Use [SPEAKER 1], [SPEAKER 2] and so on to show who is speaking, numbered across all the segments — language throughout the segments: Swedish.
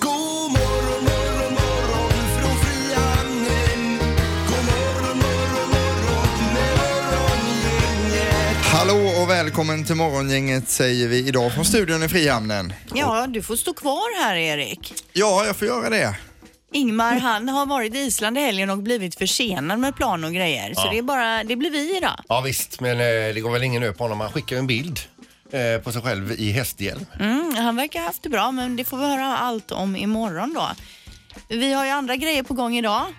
[SPEAKER 1] God morgon morgon morgon från Frihamnen. God morgon morgon morgon morgongänget.
[SPEAKER 2] Hallå och välkommen till Morgongänget säger vi idag från studion i Frihamnen.
[SPEAKER 3] Ja, du får stå kvar här Erik.
[SPEAKER 2] Ja, jag får göra det.
[SPEAKER 3] Ingmar
[SPEAKER 4] Mm.
[SPEAKER 3] han har varit i Island i helgen och blivit försenad med plan och grejer. Så det, är bara, det blir vi idag.
[SPEAKER 4] Ja visst, men eh, det går väl ingen över på honom. Han skickar ju en bild eh, på sig själv i hästhjälm.
[SPEAKER 3] Mm, han verkar ha haft det bra men det får vi höra allt om imorgon då. Vi har ju andra grejer på gång idag.
[SPEAKER 4] Mm,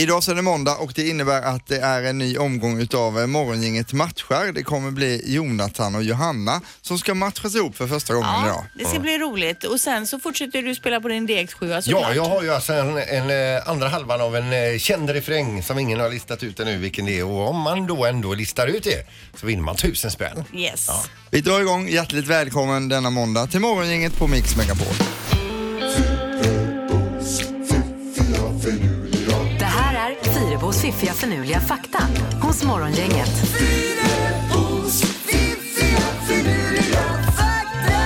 [SPEAKER 2] Idag så är det måndag och det innebär att det är en ny omgång utav eh, Morgongänget matchar. Det kommer bli Jonathan och Johanna som ska matchas ihop för första gången idag.
[SPEAKER 3] det ska bli roligt. Och sen så fortsätter du spela på din DX7
[SPEAKER 4] Ja,
[SPEAKER 3] såklart.
[SPEAKER 4] jag har ju alltså en, en eh, andra halvan av en eh, känd refräng som ingen har listat ut ännu vilken det är. Och om man då ändå listar ut det så vinner man tusen spänn.
[SPEAKER 3] Yes.
[SPEAKER 2] Vi drar igång. Hjärtligt välkommen denna måndag till Morgongänget på Mix Megapol.
[SPEAKER 5] Det här är Fyrabos fiffiga förnuliga fakta hos Morgongänget.
[SPEAKER 1] Fyrabos fiffiga finurliga fakta.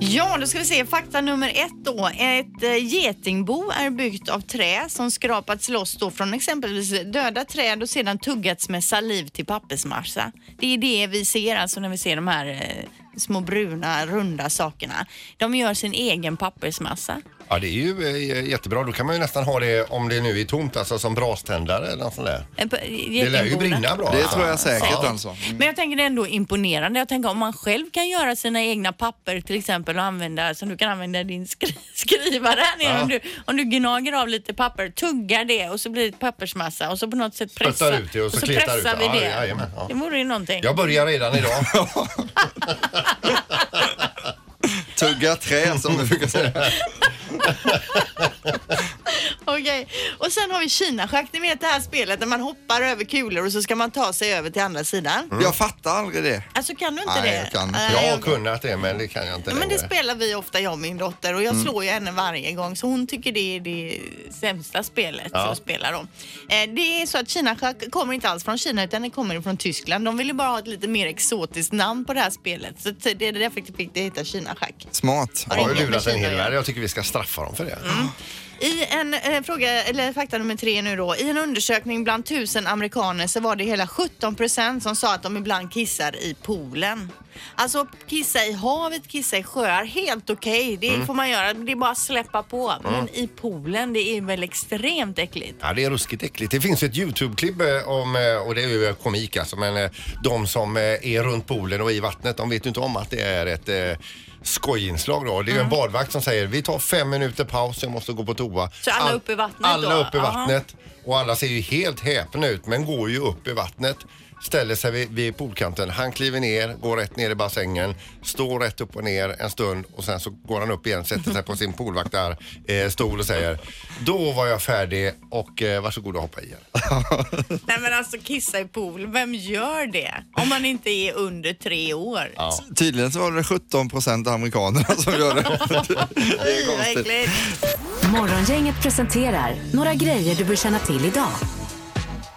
[SPEAKER 3] Ja, då ska vi se fakta nummer ett då. Ett eh, getingbo är byggt av trä som skrapats loss då från exempelvis döda träd och sedan tuggats med saliv till pappersmassa. Det är det vi ser alltså när vi ser de här eh, små bruna runda sakerna. De gör sin egen pappersmassa.
[SPEAKER 4] Ja, det är ju eh, jättebra. Då kan man ju nästan ha det, om det nu är tomt, alltså som braständare eller något sånt där.
[SPEAKER 3] Eh, på-
[SPEAKER 4] Det lär ju
[SPEAKER 3] getingborna.
[SPEAKER 4] brinna bra.
[SPEAKER 2] Det tror jag säkert
[SPEAKER 4] Ja.
[SPEAKER 2] alltså.
[SPEAKER 3] Men jag tänker det är ändå imponerande. Jag tänker om man själv kan göra sina egna papper till exempel och använda som du kan använda din skri- skrivare här nere.
[SPEAKER 4] Ja.
[SPEAKER 3] Om, du, om du gnager av lite papper, tuggar det och så blir det ett pappersmassa och så på något sätt
[SPEAKER 4] Spöttar
[SPEAKER 3] pressar,
[SPEAKER 4] ut det och så kletar
[SPEAKER 3] pressar
[SPEAKER 4] ut det.
[SPEAKER 3] vi
[SPEAKER 4] Ja,
[SPEAKER 3] det.
[SPEAKER 4] jajamän, ja.
[SPEAKER 3] Det vore ju någonting.
[SPEAKER 4] Jag börjar redan idag.
[SPEAKER 2] Tugga trä som vi brukar säga.
[SPEAKER 3] Okej. Och sen har vi Kinaschack. Ni vet det här spelet där man hoppar över kulor och så ska man ta sig över till andra sidan.
[SPEAKER 2] Jag fattar aldrig det.
[SPEAKER 3] Alltså kan du inte
[SPEAKER 2] Nej,
[SPEAKER 3] det? Eh,
[SPEAKER 2] jag kan inte.
[SPEAKER 3] Nej,
[SPEAKER 4] Mm. Jag har
[SPEAKER 3] jag-
[SPEAKER 4] kunnat det men det kan jag inte
[SPEAKER 3] Ja, Men det
[SPEAKER 4] längre. Mm.
[SPEAKER 3] spelar vi ofta jag och min dotter och jag slår ju henne varje gång så hon tycker det är det sämsta spelet
[SPEAKER 4] Ja.
[SPEAKER 3] som spelar de. Eh, Det är så att Kinaschack kommer inte alls från Kina utan det kommer från Tyskland. De ville bara ha ett lite mer exotiskt namn på det här spelet så t- det är därför det fick det heta Kinaschack.
[SPEAKER 2] Smart.
[SPEAKER 4] Jag har ju
[SPEAKER 3] ingen Mm.
[SPEAKER 4] lurat en
[SPEAKER 3] bekynnare.
[SPEAKER 4] hel värld. Jag tycker vi ska straffa dem för det.
[SPEAKER 3] I en eh, fråga, eller fakta nummer tre nu då. I en undersökning bland tusen amerikaner så var det hela 17 procent som sa att de ibland kissar i poolen. Alltså kissa i havet, kissa i sjöar, helt okej. Det
[SPEAKER 2] Mm.
[SPEAKER 3] får man göra. Det är bara att släppa på. Men i poolen, det är väl extremt äckligt.
[SPEAKER 4] Ja, det är ruskigt äckligt. Det finns ett YouTube-klipp eh, om, eh, och det är ju eh, komik alltså, men eh, de som eh, är runt poolen och i vattnet, de vet ju inte om att det är ett eh, skojinslag då. Det är ju en
[SPEAKER 3] Mm.
[SPEAKER 4] badvakt som säger vi tar fem minuter paus, jag måste gå på toa.
[SPEAKER 3] Så alla upp i vattnet
[SPEAKER 4] Alla
[SPEAKER 3] då?
[SPEAKER 4] upp i
[SPEAKER 3] Aha.
[SPEAKER 4] vattnet och alla ser ju helt häpna ut men går ju upp i vattnet. Ställer sig vid, vid poolkanten. Han kliver ner, går rätt ner i bassängen, står rätt upp och ner en stund och sen så går han upp igen, sätter sig på sin poolvaktarstol eh, stol och säger Då var jag färdig och eh, varsågod och hoppa i er.
[SPEAKER 3] Nej men alltså kissa i pool, vem gör det? Om man inte är under tre år. Ja.
[SPEAKER 2] Tydligen så var det 17 procent amerikanerna som gör det. Det är konstigt.
[SPEAKER 5] Morgongänget presenterar några grejer du bör känna till idag.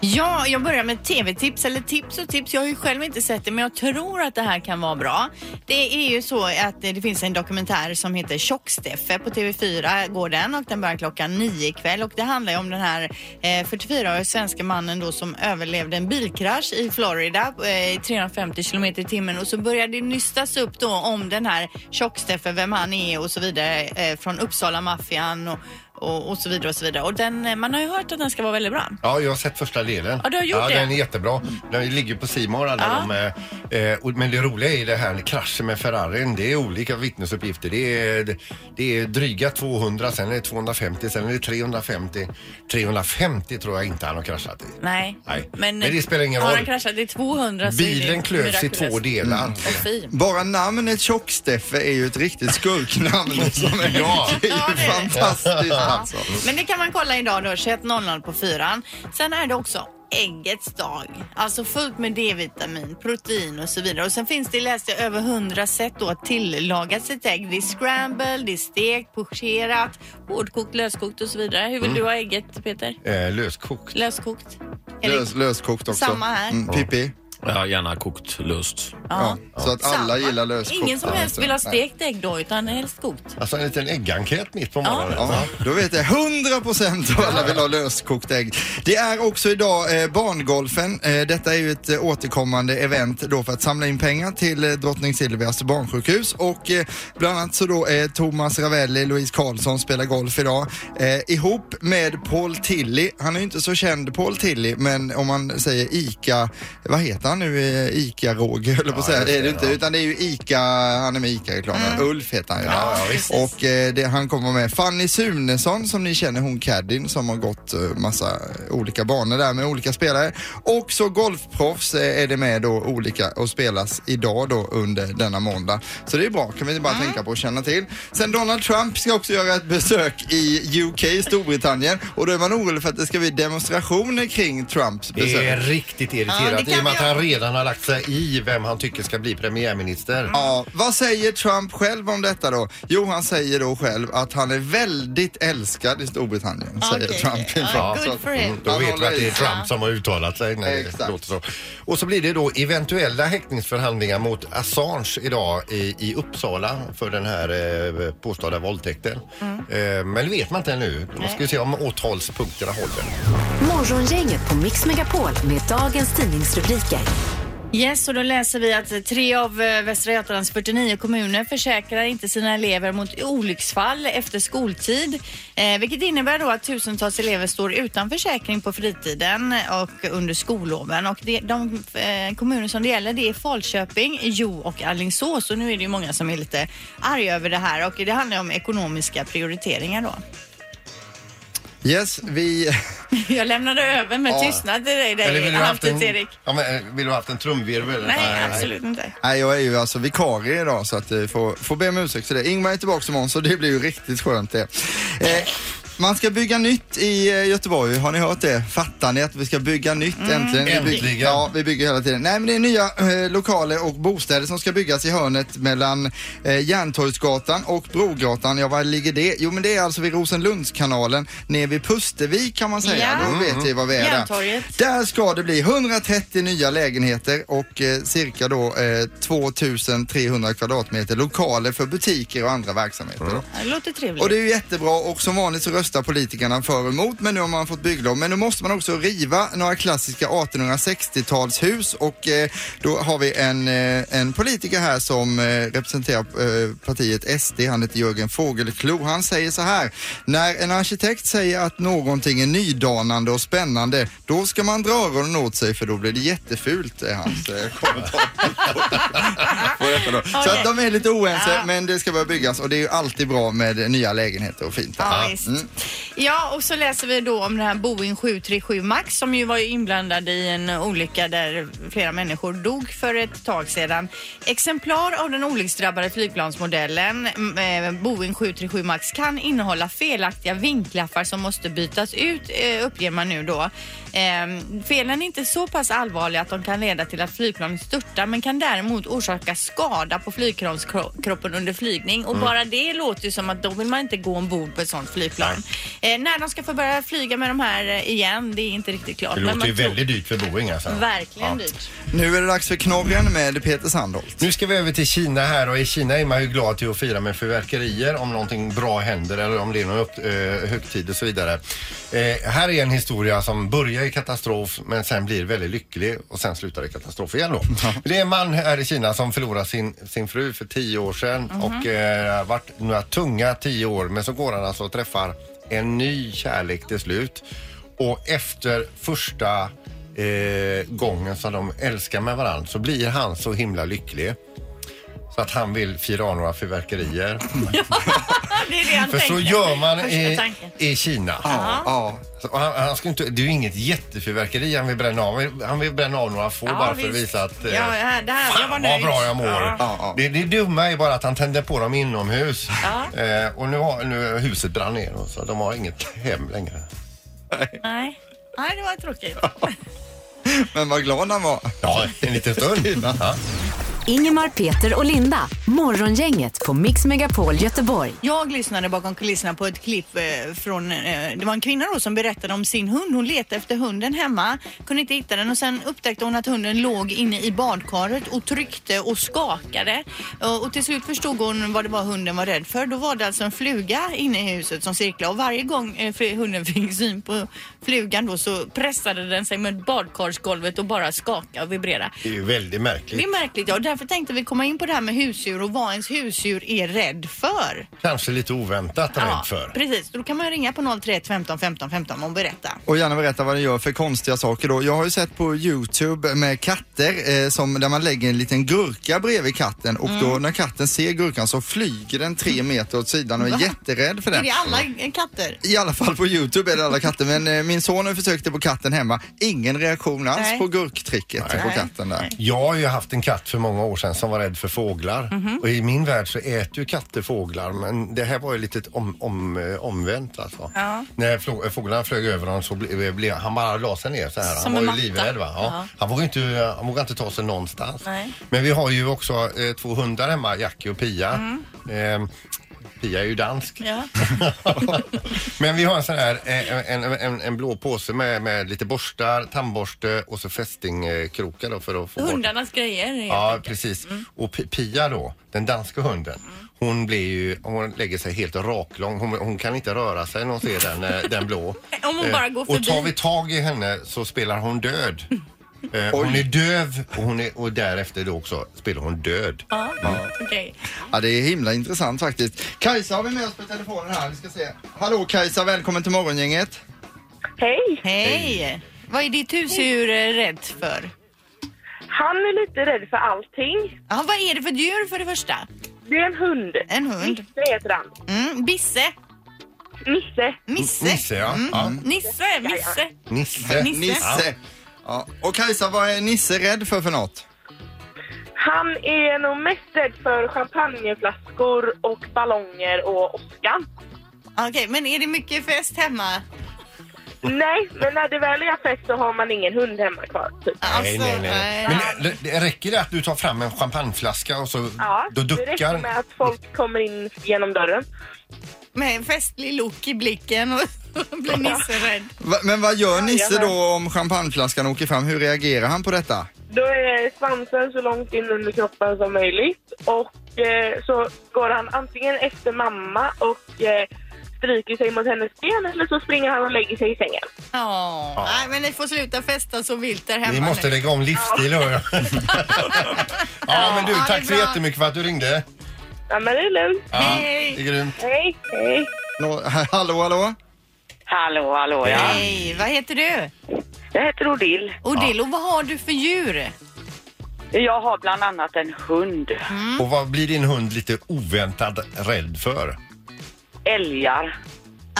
[SPEAKER 3] Ja, jag börjar med tv-tips, eller tips och tips. Jag har ju själv inte sett det, men jag tror att det här kan vara bra. Det är ju så att eh, det finns en dokumentär som heter Tjock-Steffe. På TV4 går den och den börjar klockan nio ikväll. Och det handlar ju om den här eh, 44-årige svenska mannen då som överlevde en bilkrasch i Florida eh, i 350 km i timmen. Och så började det nystas upp då om den här Tjock-Steffe, vem han är och så vidare eh, från Uppsala-maffian och, och, och så vidare och så vidare. Och den, eh, man har ju hört att den ska vara väldigt bra.
[SPEAKER 4] Ja, jag har sett första delen.
[SPEAKER 3] Ja, du har gjort det.
[SPEAKER 4] den är jättebra. Den ligger på Simor alla de. eh, eh, och- Men det roliga är det här kraschen med Ferrarin. Det är olika vittnesuppgifter. Det är, det är dryga 200, sen är det 250, sen är det 350. 350 tror jag inte han har kraschat i.
[SPEAKER 3] Nej.
[SPEAKER 4] Nej. Men det spelar ingen
[SPEAKER 3] Har
[SPEAKER 4] roll.
[SPEAKER 3] han kraschat i 200 så är det
[SPEAKER 4] Bilen klövs i två Mm.
[SPEAKER 3] mirakulöst.
[SPEAKER 4] delar.
[SPEAKER 3] Och fy.
[SPEAKER 2] Bara namnet Tjock-Steffe är ju ett riktigt skurknamn som är,
[SPEAKER 4] Ja.
[SPEAKER 2] det är ju
[SPEAKER 3] Ja, det är det.
[SPEAKER 2] fantastiskt. alltså.
[SPEAKER 3] Men det kan man kolla idag då, 21.00 på fyran. Sen är det också äggets dag, alltså fullt med D-vitamin, protein och så vidare. Och sen finns det, läste jag, över 100 sätt då att tillaga sitt ägg. Det är scramble, det är stekt, pocherat,
[SPEAKER 6] Hårdkokt, löskokt och så vidare. Hur
[SPEAKER 4] Mm.
[SPEAKER 6] vill du ha ägget Peter?
[SPEAKER 4] Eh, löskokt.
[SPEAKER 6] Löskokt?
[SPEAKER 3] Eller-
[SPEAKER 2] Lös, löskokt också.
[SPEAKER 3] Samma här.
[SPEAKER 2] Mm, Pippi.
[SPEAKER 7] Ja, gärna kokt löst.
[SPEAKER 2] Ja. Så att alla
[SPEAKER 3] Samma.
[SPEAKER 2] gillar löskokt.
[SPEAKER 6] Ingen som helst
[SPEAKER 2] Nej.
[SPEAKER 6] vill ha stekt ägg då utan helst kokt.
[SPEAKER 4] Alltså en liten äggenkät mitt på morgonen.
[SPEAKER 2] Ja, då vet jag 100% av alla vill ha löskokt ägg. Det är också idag eh, barngolfen. Eh, detta är ju ett eh, återkommande event då för att samla in pengar till eh, Drottning Silvias barnsjukhus och eh, bland annat så då eh, Thomas Ravelli, Louise Karlsson spelar golf idag eh, ihop med Paul Tilly. Han är ju inte så känd Paul Tilly men om man säger ICA, vad heter han nu? Eh, ICA-Roger höll jag på att säga. Det är det inte utan det är ju ICA, han är med i ICA-reklamen. Ulf heter han ju.
[SPEAKER 4] Mm. Ja, ja, visst.
[SPEAKER 2] Och eh, det, han kommer med Fanny Sunesson som ni känner, hon caddien som har gått eh, massa olika banor där med olika spelare. Och så golfproffs eh, är det med då olika och spelas idag då under denna måndag. Så det är bra, kan vi bara
[SPEAKER 4] Mm.
[SPEAKER 2] tänka på och känna till. Sen Donald Trump ska också göra ett besök i UK, Storbritannien. Och då är man orolig för att det ska bli demonstrationer kring Trumps
[SPEAKER 4] Det är
[SPEAKER 2] besök.
[SPEAKER 4] riktigt
[SPEAKER 3] Ja, det
[SPEAKER 4] irriterat
[SPEAKER 3] kan
[SPEAKER 4] i och med
[SPEAKER 3] vi
[SPEAKER 4] att
[SPEAKER 3] göra.
[SPEAKER 4] han redan har lagt sig i vem han tycker ska bli premiärminister.
[SPEAKER 2] Ja, vad säger Trump själv om detta då? Jo, han säger då själv att han är väldigt älskad i Storbritannien, säger
[SPEAKER 3] Ah, Okej.
[SPEAKER 2] Trump.
[SPEAKER 3] Ja,
[SPEAKER 2] inför-
[SPEAKER 3] good
[SPEAKER 2] så att-
[SPEAKER 3] for him.
[SPEAKER 4] Mm, Då
[SPEAKER 2] Han
[SPEAKER 4] vet vi
[SPEAKER 2] håller
[SPEAKER 4] att det
[SPEAKER 2] i.
[SPEAKER 4] är Trump som har uttalat sig. Nej,
[SPEAKER 2] Exakt.
[SPEAKER 4] det låter så. Och så blir det då eventuella häktningsförhandlingar mot Assange idag i, i Uppsala för den här eh, påstådda våldtäkten.
[SPEAKER 3] Mm.
[SPEAKER 4] Eh, men det vet man inte ännu. Då ska vi se om åtalspunkterna håller.
[SPEAKER 5] Morgongänget på Mix Megapol med dagens tidningsrubriker.
[SPEAKER 3] Yes, och då läser vi att tre av eh, Västra Götalands 49 kommuner försäkrar inte sina elever mot olycksfall efter skoltid. Eh, vilket innebär då att tusentals elever står utan försäkring på fritiden och under skolloven. Och det, de eh, kommuner som det gäller det är Falköping, Jo och Alingsås. Och nu är det ju många som är lite arga över det här och det handlar om ekonomiska prioriteringar då.
[SPEAKER 2] Yes, vi...
[SPEAKER 3] Jag lämnade över med
[SPEAKER 4] Ja.
[SPEAKER 3] tystnad till dig,
[SPEAKER 4] Eller
[SPEAKER 3] dig
[SPEAKER 4] vill du haft
[SPEAKER 3] Hampus
[SPEAKER 4] en,
[SPEAKER 3] Erik.
[SPEAKER 4] ja, men, eh, vill du haft en trumvirvel?
[SPEAKER 3] Nej, absolut inte.
[SPEAKER 2] Nej, jag är ju alltså vikarie idag så att eh, får, får be om ursäkt för det. Ingvar är tillbaka imorgon så det blir ju riktigt skönt det. Eh, man ska bygga nytt i eh, Göteborg, har ni hört det? Fattar ni att vi ska bygga nytt äntligen? Vi bygger-
[SPEAKER 4] Äntligen.
[SPEAKER 2] Ja, vi bygger hela tiden. Nej, men det är nya eh, lokaler och bostäder som ska byggas i hörnet mellan eh, Järntorgsgatan och Brogatan. Ja, var ligger det? Jo, men det är alltså vid Rosenlundskanalen ner vid Pustervik kan man säga.
[SPEAKER 3] Ja.
[SPEAKER 2] Då vet vi vad vi är där.
[SPEAKER 3] Järntorget.
[SPEAKER 2] Där ska det bli 130 nya lägenheter och eh, cirka då eh, 2300 kvadratmeter lokaler för butiker och andra verksamheter. då.
[SPEAKER 3] Ja, Det låter trevligt.
[SPEAKER 2] Och det är ju jättebra och som vanligt så röstar politikerna för och emot men nu har man fått bygglov. Men nu måste man också riva några klassiska 1860-talshus och eh, då har vi en, eh, en politiker här som eh, representerar eh, partiet SD, han heter Jörgen Fogelklo. Han säger så här, när en arkitekt säger att någonting är nydanande och spännande då ska man dra öronen åt sig för då blir det jättefult, är hans eh, kommentar. På detta då. Så att de är lite oense men det ska börja byggas och det är ju alltid bra med nya lägenheter och fint.
[SPEAKER 3] Ja, visst. ja, och så läser vi då om den här Boeing 737 Max som ju var ju inblandad i en olycka där flera människor dog för ett tag sedan. Exemplar av den olycksdrabbade flygplansmodellen mm, eh, Boeing 737 Max kan innehålla felaktiga vingklaffar som måste bytas ut eh, uppger man nu då. Ehm, Felen är inte så pass allvarliga att de kan leda till att flygplanet störtar men kan däremot orsaka skada på flygkroppen under flygning
[SPEAKER 4] Mm.
[SPEAKER 3] och bara det låter ju som att då vill man inte gå ombord på ett sånt flygplan. Eh, när de ska få börja flyga med de här eh, igen, det är inte riktigt klart.
[SPEAKER 4] Det
[SPEAKER 3] men
[SPEAKER 4] låter ju
[SPEAKER 3] man tror-
[SPEAKER 4] väldigt dyrt för Boeing alltså.
[SPEAKER 3] Verkligen
[SPEAKER 4] Ja.
[SPEAKER 3] dyrt.
[SPEAKER 2] Nu är det dags för knorren med Peter Sandholt.
[SPEAKER 4] Nu ska vi över till Kina här och i Kina är man ju glad till att fira med fyrverkerier om någonting bra händer eller om det är någon upp, eh, högtid och så vidare. Eh, här är en historia som börjar i katastrof men sen blir väldigt lycklig och sen slutar i katastrof igen då. Det är en man här i Kina som förlorar sin, sin fru för tio år sedan och eh, har varit några tunga tio år men så går han alltså och träffar en ny kärlek till slut och efter första eh, gången som de älskar med varandra så blir han så himla lycklig så att han vill fira av några fyrverkerier.
[SPEAKER 6] det är det han
[SPEAKER 4] För så
[SPEAKER 6] tänker.
[SPEAKER 4] gör man
[SPEAKER 6] Första
[SPEAKER 4] i,
[SPEAKER 6] tanken.
[SPEAKER 4] i Kina.
[SPEAKER 2] Ja, ja.
[SPEAKER 4] Så, och han, han ska inte, det är ju inget jättefyrverkeri han vill bränna av. Han vill- Han vill bränna av några få
[SPEAKER 6] Ja,
[SPEAKER 4] bara för att
[SPEAKER 6] visst.
[SPEAKER 4] visa att eh,
[SPEAKER 3] Ja, det här, det här, jag var
[SPEAKER 4] Fan,
[SPEAKER 3] nöjd.
[SPEAKER 4] vad bra jag mår.
[SPEAKER 2] Ja, ja.
[SPEAKER 4] Det, det dumma är bara att han tände på dem inomhus. Eh, och nu har nu, huset brann ner och så de har inget hem längre.
[SPEAKER 6] Nej. Nej, det var tråkigt.
[SPEAKER 2] Men vad glad han var.
[SPEAKER 4] Ja, en liten stund. ja.
[SPEAKER 5] Ingemar, Peter och Linda. Morgongänget på Mix Megapol Göteborg.
[SPEAKER 3] Jag lyssnade bakom kulisserna på ett klipp eh, från, eh, det var en kvinna då som berättade om sin hund. Hon letade efter hunden hemma, kunde inte hitta den och sen upptäckte hon att hunden låg inne i badkaret och tryckte och skakade. Eh, Och till slut förstod hon vad det var hunden var rädd för. Då var det alltså en fluga inne i huset som cirklade och varje gång eh, fl- hunden fick syn på flugan då så pressade den sig mot badkarsgolvet och bara skakade och vibrerade.
[SPEAKER 4] Det är ju väldigt
[SPEAKER 3] Det
[SPEAKER 4] märkligt.
[SPEAKER 3] är märkligt ja, och därför tänkte vi komma in på det här med husdjur och vad ens husdjur är rädd för.
[SPEAKER 4] Kanske lite oväntat rädd för.
[SPEAKER 3] Precis, då kan man ju ringa på 031 15 15 15 och berätta.
[SPEAKER 2] Och gärna berätta vad ni gör för konstiga saker då. Jag har ju sett på Youtube med katter eh, som, där man lägger en liten gurka bredvid katten och då
[SPEAKER 3] Mm.
[SPEAKER 2] när katten ser gurkan så flyger den tre meter åt sidan och är
[SPEAKER 3] Va?
[SPEAKER 2] jätterädd för
[SPEAKER 3] Är
[SPEAKER 2] den.
[SPEAKER 3] det alla eh, katter?
[SPEAKER 2] I alla fall på Youtube är det alla katter men eh, min son försökte på katten hemma. Ingen reaktion alls
[SPEAKER 3] Nej.
[SPEAKER 2] på gurktricket på
[SPEAKER 3] Nej.
[SPEAKER 2] katten där.
[SPEAKER 4] Jag har ju haft en katt för många år sedan som var rädd för fåglar.
[SPEAKER 6] Mhm.
[SPEAKER 4] Och i min värld så äter ju katter fåglar men det här var ju lite om, om, eh, omvänt alltså. När flå- fåglarna flög över honom så blev ble, han bara la sig ner så här.
[SPEAKER 6] Som
[SPEAKER 4] han
[SPEAKER 6] en
[SPEAKER 4] var
[SPEAKER 6] matta.
[SPEAKER 4] ju livrädd va. Ja.
[SPEAKER 6] Ja.
[SPEAKER 4] Han, vågade inte, han vågade inte ta sig någonstans.
[SPEAKER 6] Nej.
[SPEAKER 4] Men vi har ju också eh, två hundar hemma, Jackie och Pia. Ehm, Pia är ju dansk.
[SPEAKER 6] Mm. Ja.
[SPEAKER 4] Men vi har en sån här eh, en, en, en blå påse med, med lite borstar, tandborste och så fästingkrokar då för att få bort
[SPEAKER 6] Hundarnas grejer.
[SPEAKER 4] Ja, precis. Och P- Pia då, den danska hunden, hon blir ju, hon lägger sig helt raklång. Hon, hon kan inte röra sig när hon ser den, eh, den blå.
[SPEAKER 6] Om hon
[SPEAKER 4] Eh,
[SPEAKER 6] bara går
[SPEAKER 4] Och tar
[SPEAKER 6] förbi.
[SPEAKER 4] vi tag i henne så spelar hon död. Eh, Hon är döv och, hon är, och därefter då också spelar hon död.
[SPEAKER 6] Ja, okej.
[SPEAKER 2] Ja, det är himla intressant faktiskt. Kajsa har vi med oss på telefonen här. Vi ska se. Hallå Kajsa, välkommen till morgongänget.
[SPEAKER 8] Hej!
[SPEAKER 3] Hej! Vad är ditt husdjur eh, rädd för?
[SPEAKER 8] Han är lite rädd för allting.
[SPEAKER 3] Ja, vad är det för djur för det första?
[SPEAKER 8] Det är en hund.
[SPEAKER 3] En hund?
[SPEAKER 8] Nisse heter han.
[SPEAKER 3] Mm, bisse?
[SPEAKER 8] Nisse.
[SPEAKER 3] Misse?
[SPEAKER 4] Mm, Nisse ja.
[SPEAKER 3] Mm.
[SPEAKER 4] ja.
[SPEAKER 6] Nisse, Nisse.
[SPEAKER 4] Nisse.
[SPEAKER 6] Nisse.
[SPEAKER 2] Eh, Nisse. Ja. Och Kajsa, vad är Nisse rädd för för något?
[SPEAKER 8] Han är nog mest rädd för champagneflaskor och ballonger och åskan.
[SPEAKER 3] Okej, men är det mycket fest hemma?
[SPEAKER 8] Nej, men när det väl är fest så har man ingen hund hemma kvar. Typ.
[SPEAKER 4] Nej,
[SPEAKER 3] Alltså,
[SPEAKER 4] nej, nej. Men eh, det- det räcker det att du tar fram en champagneflaska och så
[SPEAKER 8] Ja,
[SPEAKER 4] då
[SPEAKER 8] det räcker med
[SPEAKER 4] duckar?
[SPEAKER 8] att folk kommer in genom dörren.
[SPEAKER 3] Med en festlig look i blicken och blir Nisse rädd.
[SPEAKER 2] Va, men vad gör Nisse
[SPEAKER 8] Jajamän.
[SPEAKER 2] då om champagneflaskan åker fram? Hur reagerar han på detta?
[SPEAKER 8] Då är svansen så långt in under kroppen som möjligt och eh, så går han antingen efter mamma och eh, stryker sig mot hennes ben eller så springer han och lägger sig i sängen.
[SPEAKER 3] Ja, nej men ni får sluta festa så vilt där hemma
[SPEAKER 4] Vi måste
[SPEAKER 3] nu.
[SPEAKER 4] lägga om livsstil hör jag. Ja men du,
[SPEAKER 3] Ja, det är
[SPEAKER 4] tack så
[SPEAKER 3] bra.
[SPEAKER 4] jättemycket för att du ringde.
[SPEAKER 8] Ja, men det är lugnt.
[SPEAKER 4] Ja,
[SPEAKER 3] Hej.
[SPEAKER 4] Det är grymt.
[SPEAKER 8] Hej, hej.
[SPEAKER 2] Nå, hallå, hallå?
[SPEAKER 8] Hallå, hallå, ja.
[SPEAKER 3] Hej, vad heter du?
[SPEAKER 8] Jag heter Odil.
[SPEAKER 3] Odilo, vad har du för djur?
[SPEAKER 8] Jag har bland annat en hund.
[SPEAKER 2] Mm.
[SPEAKER 4] Och vad blir din hund lite oväntat rädd för?
[SPEAKER 8] Älgar.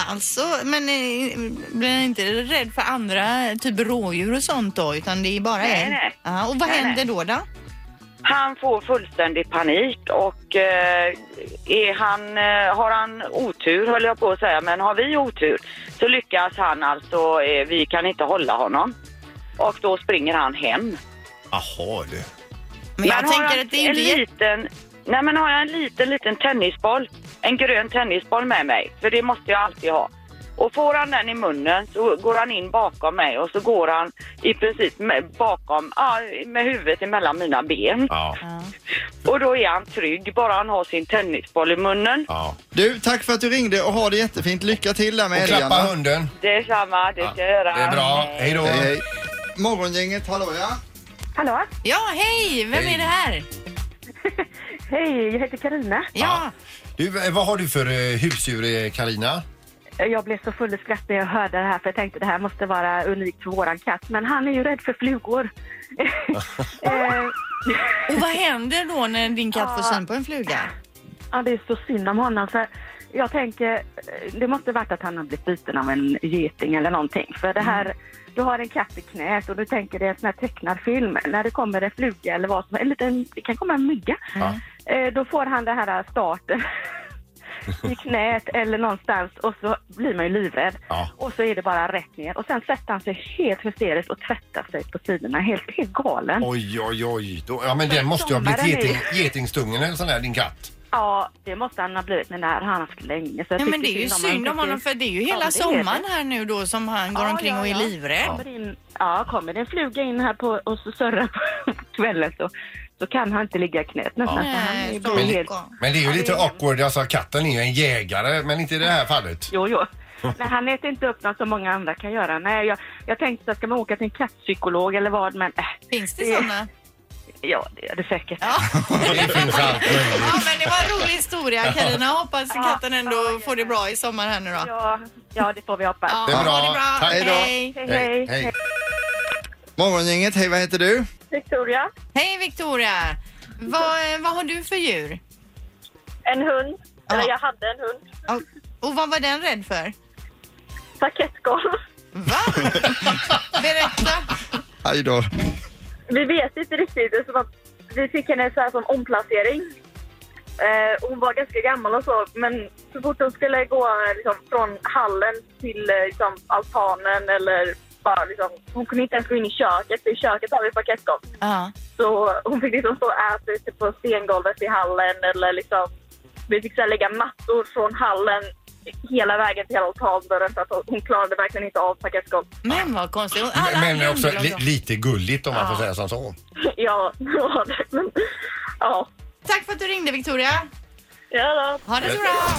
[SPEAKER 3] Alltså, men eh, blir ni inte rädd för andra typ rådjur och sånt då? Utan det är bara
[SPEAKER 8] Nej,
[SPEAKER 3] en?
[SPEAKER 8] nej.
[SPEAKER 3] Ja, och vad
[SPEAKER 8] Nej,
[SPEAKER 3] händer då då?
[SPEAKER 8] Han får fullständig panik och eh, är han, eh, har han otur, höll jag på att säga, men har vi otur så lyckas han alltså, eh, vi kan inte hålla honom. Och då springer han hem.
[SPEAKER 4] Jaha du.
[SPEAKER 3] Men jag
[SPEAKER 8] har
[SPEAKER 3] tänker
[SPEAKER 8] jag
[SPEAKER 3] att det är
[SPEAKER 8] en
[SPEAKER 3] inte jätte...
[SPEAKER 8] liten, Nej men har jag en liten, liten tennisboll, en grön tennisboll med mig, för det måste jag alltid ha. Och får han den i munnen så går han in bakom mig och så går han i princip med, bakom, ja, med huvudet emellan mina ben.
[SPEAKER 4] Ja.
[SPEAKER 8] Och då är han trygg, bara han har sin tennisboll i munnen.
[SPEAKER 4] ja.
[SPEAKER 2] Du, tack för att du ringde och ha det jättefint. Lycka till där med
[SPEAKER 4] Och klappa hunden.
[SPEAKER 8] Det är samma, det ska jag göra.
[SPEAKER 4] Det är bra. Hej då.
[SPEAKER 2] Hej, hej. Morgongänget, hallå ja?
[SPEAKER 8] Hallå?
[SPEAKER 3] Ja, hej! Vem
[SPEAKER 4] Hej.
[SPEAKER 3] är det här?
[SPEAKER 8] Hej, jag heter Karina.
[SPEAKER 3] Ja,
[SPEAKER 4] Du, eh, vad har du för eh, husdjur eh, Carina?
[SPEAKER 8] Jag blev så full i skratt när jag hörde det här för jag tänkte det här måste vara unikt för våran katt. Men han är ju rädd för flugor. eh,
[SPEAKER 3] och vad händer då när din katt får syn på en fluga?
[SPEAKER 8] ja, det är så synd om honom för
[SPEAKER 9] jag tänker, eh, det måste varit att han har blivit biten av en geting eller någonting. För det här, du har en katt i knät och du tänker det är en sån här tecknad film. När det kommer en fluga eller vad som helst, en liten, det kan komma en mygga. Eh, då får han det här starten i knät eller någonstans och så blir man ju livrädd. Och så är det bara rätt ner. Och sen sätter han sig helt hysteriskt och tvättar sig på sidorna. Helt, helt galen.
[SPEAKER 4] Oj, oj, oj. Då, ja, men den måste ju ha blivit
[SPEAKER 9] Sommaren är-
[SPEAKER 4] geting, getingstungen eller sån där, din katt.
[SPEAKER 9] Ja, det måste han ha blivit med när han har haft länge. Så jag
[SPEAKER 3] Nej, men
[SPEAKER 9] tycker
[SPEAKER 3] det är ju
[SPEAKER 9] honom.
[SPEAKER 3] synd om honom för det är ju
[SPEAKER 9] Ja,
[SPEAKER 3] hela
[SPEAKER 9] det är
[SPEAKER 3] sommaren
[SPEAKER 9] det.
[SPEAKER 3] här nu då som han går
[SPEAKER 9] Ja,
[SPEAKER 3] omkring
[SPEAKER 9] ja,
[SPEAKER 3] och är
[SPEAKER 9] ja.
[SPEAKER 3] livrädd.
[SPEAKER 9] Kommer det in, ja, kommer det en fluga in här på, och så surrar på kvällen så, så kan han inte ligga i knät nästan.
[SPEAKER 4] Ja.
[SPEAKER 9] Så han
[SPEAKER 3] Eh,
[SPEAKER 9] är ju
[SPEAKER 4] Men,
[SPEAKER 9] helt...
[SPEAKER 4] men det är ju lite awkward, alltså katten är ju en jägare, men inte i det här fallet.
[SPEAKER 9] Jo, jo. Nej, han äter inte upp något som många andra kan göra. Nej, jag, jag tänkte att ska man åka till en kattpsykolog eller vad, men... äh,
[SPEAKER 3] Finns det såna?
[SPEAKER 9] Ja, det gör det säkert.
[SPEAKER 4] Det finns allt möjligt.
[SPEAKER 3] Ja, men det var en rolig historia Carina. Hoppas katten ändå får det bra i sommar här nu då.
[SPEAKER 9] Ja, ja det får vi hoppas.
[SPEAKER 3] Ja,
[SPEAKER 2] Det är
[SPEAKER 3] ha
[SPEAKER 2] bra.
[SPEAKER 3] det bra.
[SPEAKER 2] Tack. Hej då.
[SPEAKER 3] Hej.
[SPEAKER 2] Hej, hej. Morgongänget, hej vad heter du?
[SPEAKER 3] Victoria. Hej Victoria. Vad, vad har du för djur? En hund. Eller jag hade en hund. Och vad var den rädd för? Parkettgolv. Va? Berätta.
[SPEAKER 2] Aj då.
[SPEAKER 10] Vi vet inte riktigt. Det är som att vi fick henne så här som omplacering. Eh, hon var ganska gammal och så, men så fort hon skulle gå eh, liksom, från hallen till eh, liksom, altanen eller bara liksom, hon kunde inte ens gå in i köket, för i köket har vi parkettgolv.
[SPEAKER 3] Ja.
[SPEAKER 10] Så hon fick liksom stå och äta ute på stengolvet i hallen eller liksom, vi fick så här, lägga mattor från hallen hela vägen till hela altandörren för att hon- hon klarade verkligen inte av parkettgolv.
[SPEAKER 3] Men vad konstigt.
[SPEAKER 4] Men, men också li, lite gulligt om man får säga som så.
[SPEAKER 10] ja, det var det. Men, ja.
[SPEAKER 3] Tack för att du ringde Victoria.
[SPEAKER 10] Ja
[SPEAKER 3] då. Ha det så bra.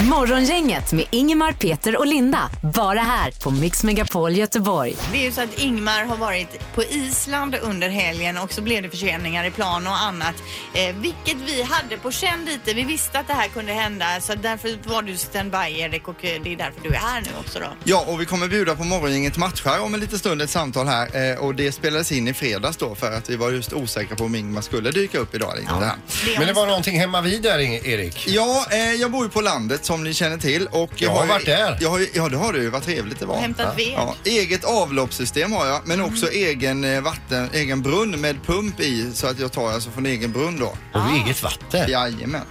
[SPEAKER 5] Morgongänget med Ingemar, Peter och Linda. Bara här på Mix Megapol Göteborg.
[SPEAKER 3] Det är ju så att Ingmar har varit på Island under helgen och så blev det förseningar i plan och annat. Eh, vilket vi hade på känn lite. Vi visste att det här kunde hända så därför var du standby Erik och eh, det är därför du är här nu också då.
[SPEAKER 2] Ja, och vi kommer bjuda på morgongänget matcher om en liten stund, ett samtal här. Eh, och det spelades in i fredags då för att vi var just osäkra på om Ingmar skulle dyka upp idag eller inte. här.
[SPEAKER 4] Men det var någonting hemma vid där, E- Erik.
[SPEAKER 2] Ja, eh, jag bor ju på landet som ni känner till. Och
[SPEAKER 4] Jag har
[SPEAKER 2] ju-
[SPEAKER 4] varit där.
[SPEAKER 2] Jag har, ju- ja, det har du ju. Vad trevligt det var.
[SPEAKER 4] Och hämtat ved. Mm.
[SPEAKER 2] Ja, eget avloppssystem har jag, men också egen, eh, vatten, egen brunn med pump i. Så att jag tar alltså från egen brunn då.
[SPEAKER 4] Och eget vatten?
[SPEAKER 2] Jajamän.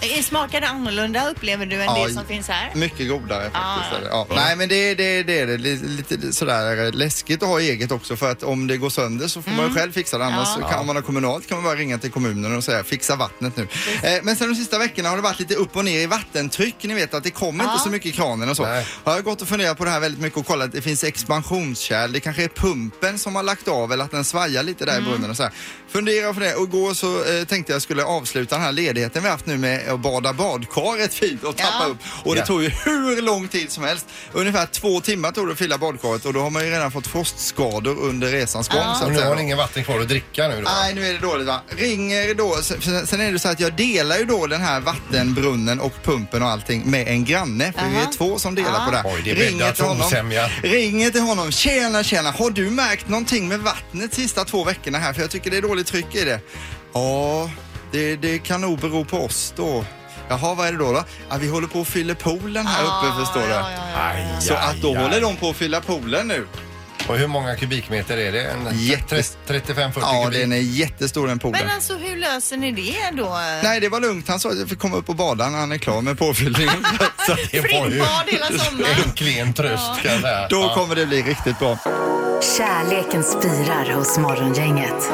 [SPEAKER 3] Eh, Smakar det annorlunda upplever du än
[SPEAKER 2] Ja, Mm.
[SPEAKER 3] det som finns här?
[SPEAKER 2] Mycket godare faktiskt.
[SPEAKER 3] Ah.
[SPEAKER 2] eller? ja. Nej men det, det, det är det. Lite, lite sådär läskigt att ha eget också för att om det går sönder så får man ju själv fixa det. Annars
[SPEAKER 1] Mm. Ja.
[SPEAKER 2] så kan, om man har kommunalt kan man bara ringa till kommunen och säga fixa vattnet nu. Eh, men sen de sista veckorna har det varit lite upp och ner i vattentryck. Ni vet att det kommer
[SPEAKER 1] Ja.
[SPEAKER 2] inte så mycket i kranen och så. Har jag gått och funderat på det här väldigt mycket och kollat. Det finns expansionskärl. Det kanske är pumpen som har lagt av eller att den svajar lite där i brunnen och så här. Fundera på det och igår så eh, tänkte jag skulle avsluta den här ledigheten vi haft nu med att bada badkaret fint och tappa upp. Och det
[SPEAKER 1] Ja.
[SPEAKER 2] tog ju hur lång tid som helst. Ungefär två timmar tog det att fylla badkaret och då har man ju redan fått frostskador under resans gång. Så
[SPEAKER 4] Och
[SPEAKER 2] att
[SPEAKER 4] nu
[SPEAKER 2] säga.
[SPEAKER 4] har ni ingen vatten kvar att dricka nu då?
[SPEAKER 2] Nej, nu är det dåligt va. Ringer då, sen, sen är det så att jag delar ju då den här vattenbrunnen och pumpen och allting med en granne. För vi är två som delar
[SPEAKER 4] Ja.
[SPEAKER 2] på det här.
[SPEAKER 4] Oj, det bäddar för osämja.
[SPEAKER 2] ringer till honom. Tjena, tjena. Har du märkt någonting med vattnet sista två veckorna här? För jag tycker det är dåligt tryck i det. Ja, det, det kan nog bero på oss då. Jaha, vad är det då? då? Ja, vi håller på att fylla poolen här uppe förstår du. Så att då håller de på att fylla poolen nu.
[SPEAKER 4] Och hur många kubikmeter är det? En
[SPEAKER 2] Jättes-
[SPEAKER 4] 35-40
[SPEAKER 2] Ja,
[SPEAKER 4] kubik?
[SPEAKER 2] den är jättestor den poolen.
[SPEAKER 3] Men alltså hur löser ni det då?
[SPEAKER 2] Nej, det var lugnt. Han sa att jag fick komma upp och bada när han är klar med påfyllningen. Så det
[SPEAKER 3] var ju Fritt bad hela sommaren.
[SPEAKER 4] en klen tröst kan jag säga.
[SPEAKER 2] Då
[SPEAKER 4] Ja.
[SPEAKER 2] kommer det bli riktigt bra.
[SPEAKER 5] Kärleken spirar hos Morgongänget.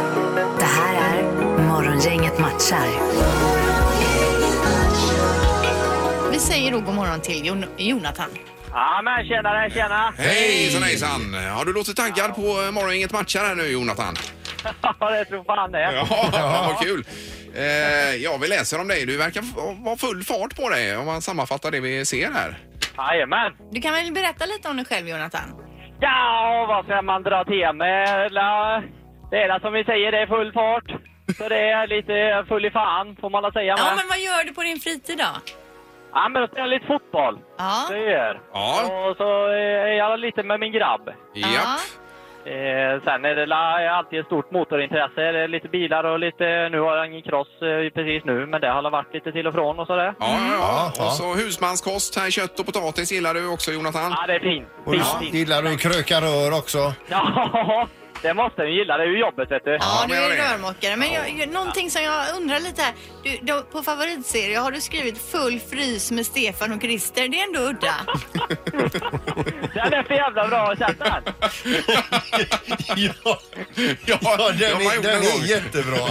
[SPEAKER 5] Det här är Morgongänget matchar.
[SPEAKER 3] Vi säger då god morgon till Jon Jonathan.
[SPEAKER 11] Ja men tjenare, tjena!
[SPEAKER 12] Hejsan hejsan! Har du låtit taggad på eh, morgongänget matcher här nu Jonathan?
[SPEAKER 11] Ja det tror fan det!
[SPEAKER 12] Ja, vad kul! Eh, ja, vi läser om dig. Du verkar f- vara full fart på dig om man sammanfattar det vi ser här.
[SPEAKER 11] Jajamän!
[SPEAKER 3] Du kan väl berätta lite om dig själv Jonathan?
[SPEAKER 11] Ja, vad ska man dra till med? La- Det ena som vi säger det är full fart. Så det är lite full i fan får man väl säga
[SPEAKER 3] Ja
[SPEAKER 11] med.
[SPEAKER 3] men vad gör du på din fritid då?
[SPEAKER 11] Ja men jag spelar lite fotboll.
[SPEAKER 3] Ja.
[SPEAKER 11] Det gör.
[SPEAKER 12] Ja.
[SPEAKER 11] Och så är jag lite med min grabb.
[SPEAKER 12] Japp.
[SPEAKER 11] Eh, sen är det la- alltid ett stort motorintresse. Det är lite bilar och lite... Nu har jag ingen cross eh, precis nu, men det har varit lite till och från och sådär.
[SPEAKER 12] Ja,
[SPEAKER 11] Mm.
[SPEAKER 12] ja, ja. Och så husmanskost, här kött och potatis gillar du också Jonathan.
[SPEAKER 11] Ja, det är fint.
[SPEAKER 4] Och du gillar du att kröka rör också?
[SPEAKER 11] Ja, det måste du gilla. Det är ju jobbet, vet du.
[SPEAKER 3] Ja, du är rörmokare. Men jag, jag, någonting som jag undrar lite här. Du, då, på favoritserie har du skrivit Full frys med Stefan och Christer. Det är ändå udda.
[SPEAKER 11] Den är för jävla bra att sätta den.
[SPEAKER 4] ja, ja, den,
[SPEAKER 11] man
[SPEAKER 4] är,
[SPEAKER 11] gjorde
[SPEAKER 4] den
[SPEAKER 11] en gång.
[SPEAKER 4] är jättebra.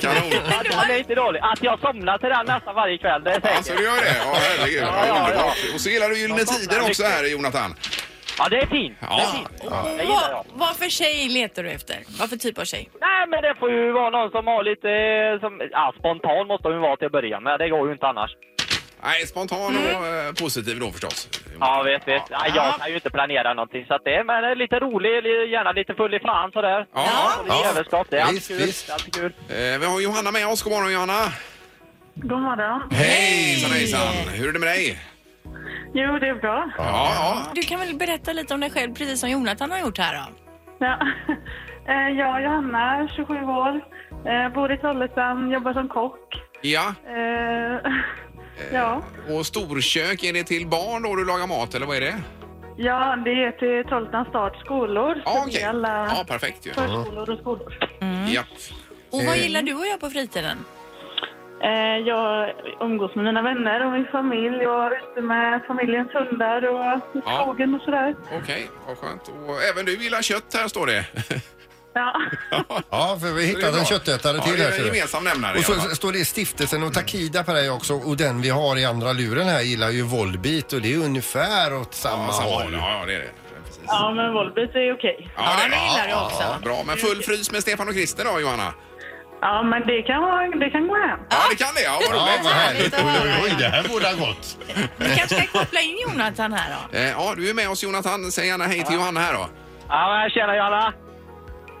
[SPEAKER 12] Kanon.
[SPEAKER 11] Ja, den är inte dålig. Att jag somnar till den nästan varje kväll, det är säkert.
[SPEAKER 12] Alltså du gör det? Ja, herregud.
[SPEAKER 11] Ja, ja,
[SPEAKER 12] Ja, underbart. Och så gillar du Gyllene
[SPEAKER 11] Jag saknar
[SPEAKER 12] Tider också
[SPEAKER 11] mycket.
[SPEAKER 12] här Jonathan.
[SPEAKER 11] Ja, det är fint.
[SPEAKER 12] Ja.
[SPEAKER 6] Och Vad, vad för tjej letar du efter? Vad för typ av tjej?
[SPEAKER 11] Nej, men det får ju vara någon som har lite... eh, Som, ja, spontan måste hon ju vara till att börja med. Det går ju inte annars.
[SPEAKER 12] Nej, spontan och
[SPEAKER 11] Mm.
[SPEAKER 12] eh, positiv då förstås.
[SPEAKER 11] Ja, vet, vet. Ja, jag kan ju inte planera någonting. Så att det, men det är lite rolig, li- gärna lite full i fan sådär.
[SPEAKER 12] Ja,
[SPEAKER 11] Och lite
[SPEAKER 12] ja.
[SPEAKER 11] överskott. Det är
[SPEAKER 12] Visst,
[SPEAKER 11] alltid kul.
[SPEAKER 12] visst.
[SPEAKER 11] Det är alltid kul.
[SPEAKER 12] Eh, Vi har Johanna med oss. God morgon Johanna.
[SPEAKER 10] God morgon.
[SPEAKER 12] Hejsan hejsan. Hur är det med dig?
[SPEAKER 10] Jo, det är bra.
[SPEAKER 12] Ja, ja.
[SPEAKER 6] Du kan väl berätta lite om dig själv precis som Jonathan har gjort här då?
[SPEAKER 10] Ja. Eh, Jag är Johanna, 27 år, eh, bor i Trollhättan, jobbar som kock.
[SPEAKER 12] Ja.
[SPEAKER 10] Eh, Ja,
[SPEAKER 12] Och storkök, är det till barn då du lagar mat eller vad är det?
[SPEAKER 10] ja det är till Trollhättans stads skolor. så
[SPEAKER 12] Ja,
[SPEAKER 10] det
[SPEAKER 12] okej.
[SPEAKER 10] är alla
[SPEAKER 12] Ja, perfekt ju.
[SPEAKER 10] förskolor och skolor.
[SPEAKER 12] Ja.
[SPEAKER 6] Och vad
[SPEAKER 12] Eh.
[SPEAKER 6] gillar du att göra på fritiden?
[SPEAKER 10] Eh, Jag umgås med mina vänner och min familj och är ute med familjens hundar och i
[SPEAKER 12] Ja.
[SPEAKER 10] skogen och sådär.
[SPEAKER 12] Okej, vad skönt. Och även du gillar kött här står det.
[SPEAKER 10] Ja.
[SPEAKER 4] Ja, för vi
[SPEAKER 12] Det är
[SPEAKER 4] hittade en
[SPEAKER 12] bra.
[SPEAKER 4] köttätare
[SPEAKER 12] Ja,
[SPEAKER 4] till
[SPEAKER 12] det
[SPEAKER 4] här.
[SPEAKER 12] är
[SPEAKER 4] ser du.
[SPEAKER 12] en gemensam nämnare
[SPEAKER 4] Och
[SPEAKER 12] i alla
[SPEAKER 4] så
[SPEAKER 12] fall.
[SPEAKER 4] står det stiftelsen och Takida på dig också. Och den vi har i andra luren här gillar ju Volbit och det är ungefär åt samma
[SPEAKER 12] Ja, samma håll.
[SPEAKER 4] håll.
[SPEAKER 12] Ja, ja, det är det. Precis.
[SPEAKER 10] Ja, men Volbit är okej.
[SPEAKER 12] Ja, det,
[SPEAKER 10] gillar jag
[SPEAKER 12] också. Bra, men full frys med Stefan och Christer då, Johanna?
[SPEAKER 10] Ja, men det kan, vara- det kan gå hem.
[SPEAKER 12] Ja, det kan det. Ja, vad roligt.
[SPEAKER 4] Oj, det här borde ha gått.
[SPEAKER 6] Vi kanske ska koppla in Jonathan här då?
[SPEAKER 12] Eh, Ja, du är med oss Jonathan. Säg gärna hej till Johanna här då.
[SPEAKER 11] Ja, men tjena Johanna.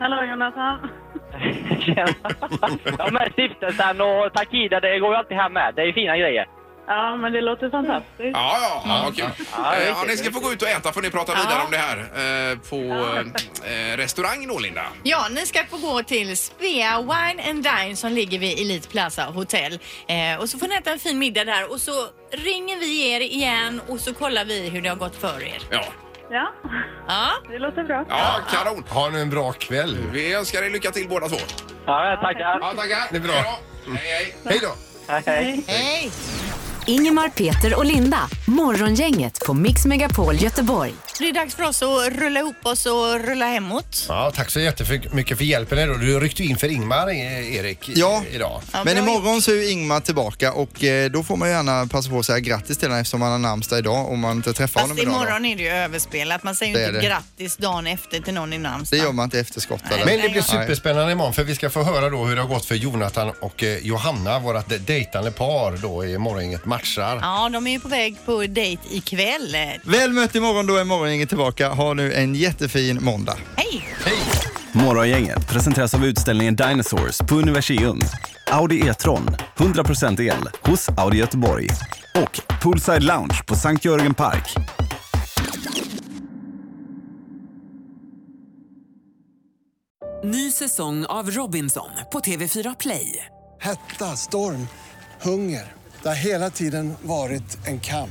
[SPEAKER 10] Hallå Jonathan.
[SPEAKER 11] Ja, men stiftelsen och Takida, det går ju alltid hem med. Det är ju fina grejer.
[SPEAKER 10] Ja, men det låter fantastiskt.
[SPEAKER 12] Ja, ja, ja, vad kul.
[SPEAKER 11] Ja,
[SPEAKER 12] Eh,
[SPEAKER 11] det är
[SPEAKER 12] Ja,
[SPEAKER 11] kul.
[SPEAKER 12] ni ska få gå ut och äta får ni prata vidare om det här eh, på eh, restaurang då, Linda.
[SPEAKER 3] Ja, ni ska få gå till Svea Wine and Dine som ligger vid Elite Plaza Hotel. Eh, och så får ni äta en fin middag där och så ringer vi er igen och så kollar vi hur det har gått för er.
[SPEAKER 12] Ja.
[SPEAKER 10] Ja,
[SPEAKER 3] Ja.
[SPEAKER 10] det låter bra.
[SPEAKER 12] Ja, kanon.
[SPEAKER 4] Ha nu en bra kväll.
[SPEAKER 12] Vi önskar er lycka till båda två.
[SPEAKER 11] Ja, tackar.
[SPEAKER 12] Ja, tackar.
[SPEAKER 4] Det är bra.
[SPEAKER 12] Hej då. Hej, hej.
[SPEAKER 4] Hej då.
[SPEAKER 11] Hej.
[SPEAKER 3] Hej!
[SPEAKER 5] Ingemar, Peter och Linda. Morgongänget på Mix Megapol Göteborg.
[SPEAKER 3] Det är dags för oss att rulla ihop oss och rulla hemåt.
[SPEAKER 4] Ja, tack så jättemycket för hjälpen idag. Du ryckte in för Ingmar, eh, Erik, i-
[SPEAKER 2] Ja.
[SPEAKER 4] idag.
[SPEAKER 2] Men imorgon så är ju Ingmar tillbaka och eh, då får man gärna passa på att säga grattis till honom eftersom han har namnsdag idag om man inte träffar
[SPEAKER 3] Fast
[SPEAKER 2] honom idag. då.
[SPEAKER 3] imorgon är det ju överspelat. Man säger
[SPEAKER 2] Det
[SPEAKER 3] ju
[SPEAKER 2] är
[SPEAKER 3] inte
[SPEAKER 2] det.
[SPEAKER 3] grattis dagen efter till någon i
[SPEAKER 2] Det
[SPEAKER 3] namnsdag.
[SPEAKER 2] gör man inte efter skott eller?
[SPEAKER 4] Men det blir
[SPEAKER 2] Nej.
[SPEAKER 4] superspännande imorgon för vi ska få höra då hur det har gått för Jonathan och eh, Johanna, vårat de- dejtande par då i morgongänget matchar.
[SPEAKER 3] Ja, de är ju på väg på dejt ikväll. Eh,
[SPEAKER 2] Väl mött imorgon, då är morgongänget tillbaka. Ha nu en jättefin måndag.
[SPEAKER 3] Hej!
[SPEAKER 13] Morgongänget presenteras av utställningen Dinosaurs på Universium. Audi E-tron, 100% el, hos Audi Göteborg. Och Poolside Lounge på Sankt Jörgen Park.
[SPEAKER 14] Ny säsong av Robinson på TV4 Play.
[SPEAKER 15] Hetta, storm, hunger. Det har hela tiden varit en kamp.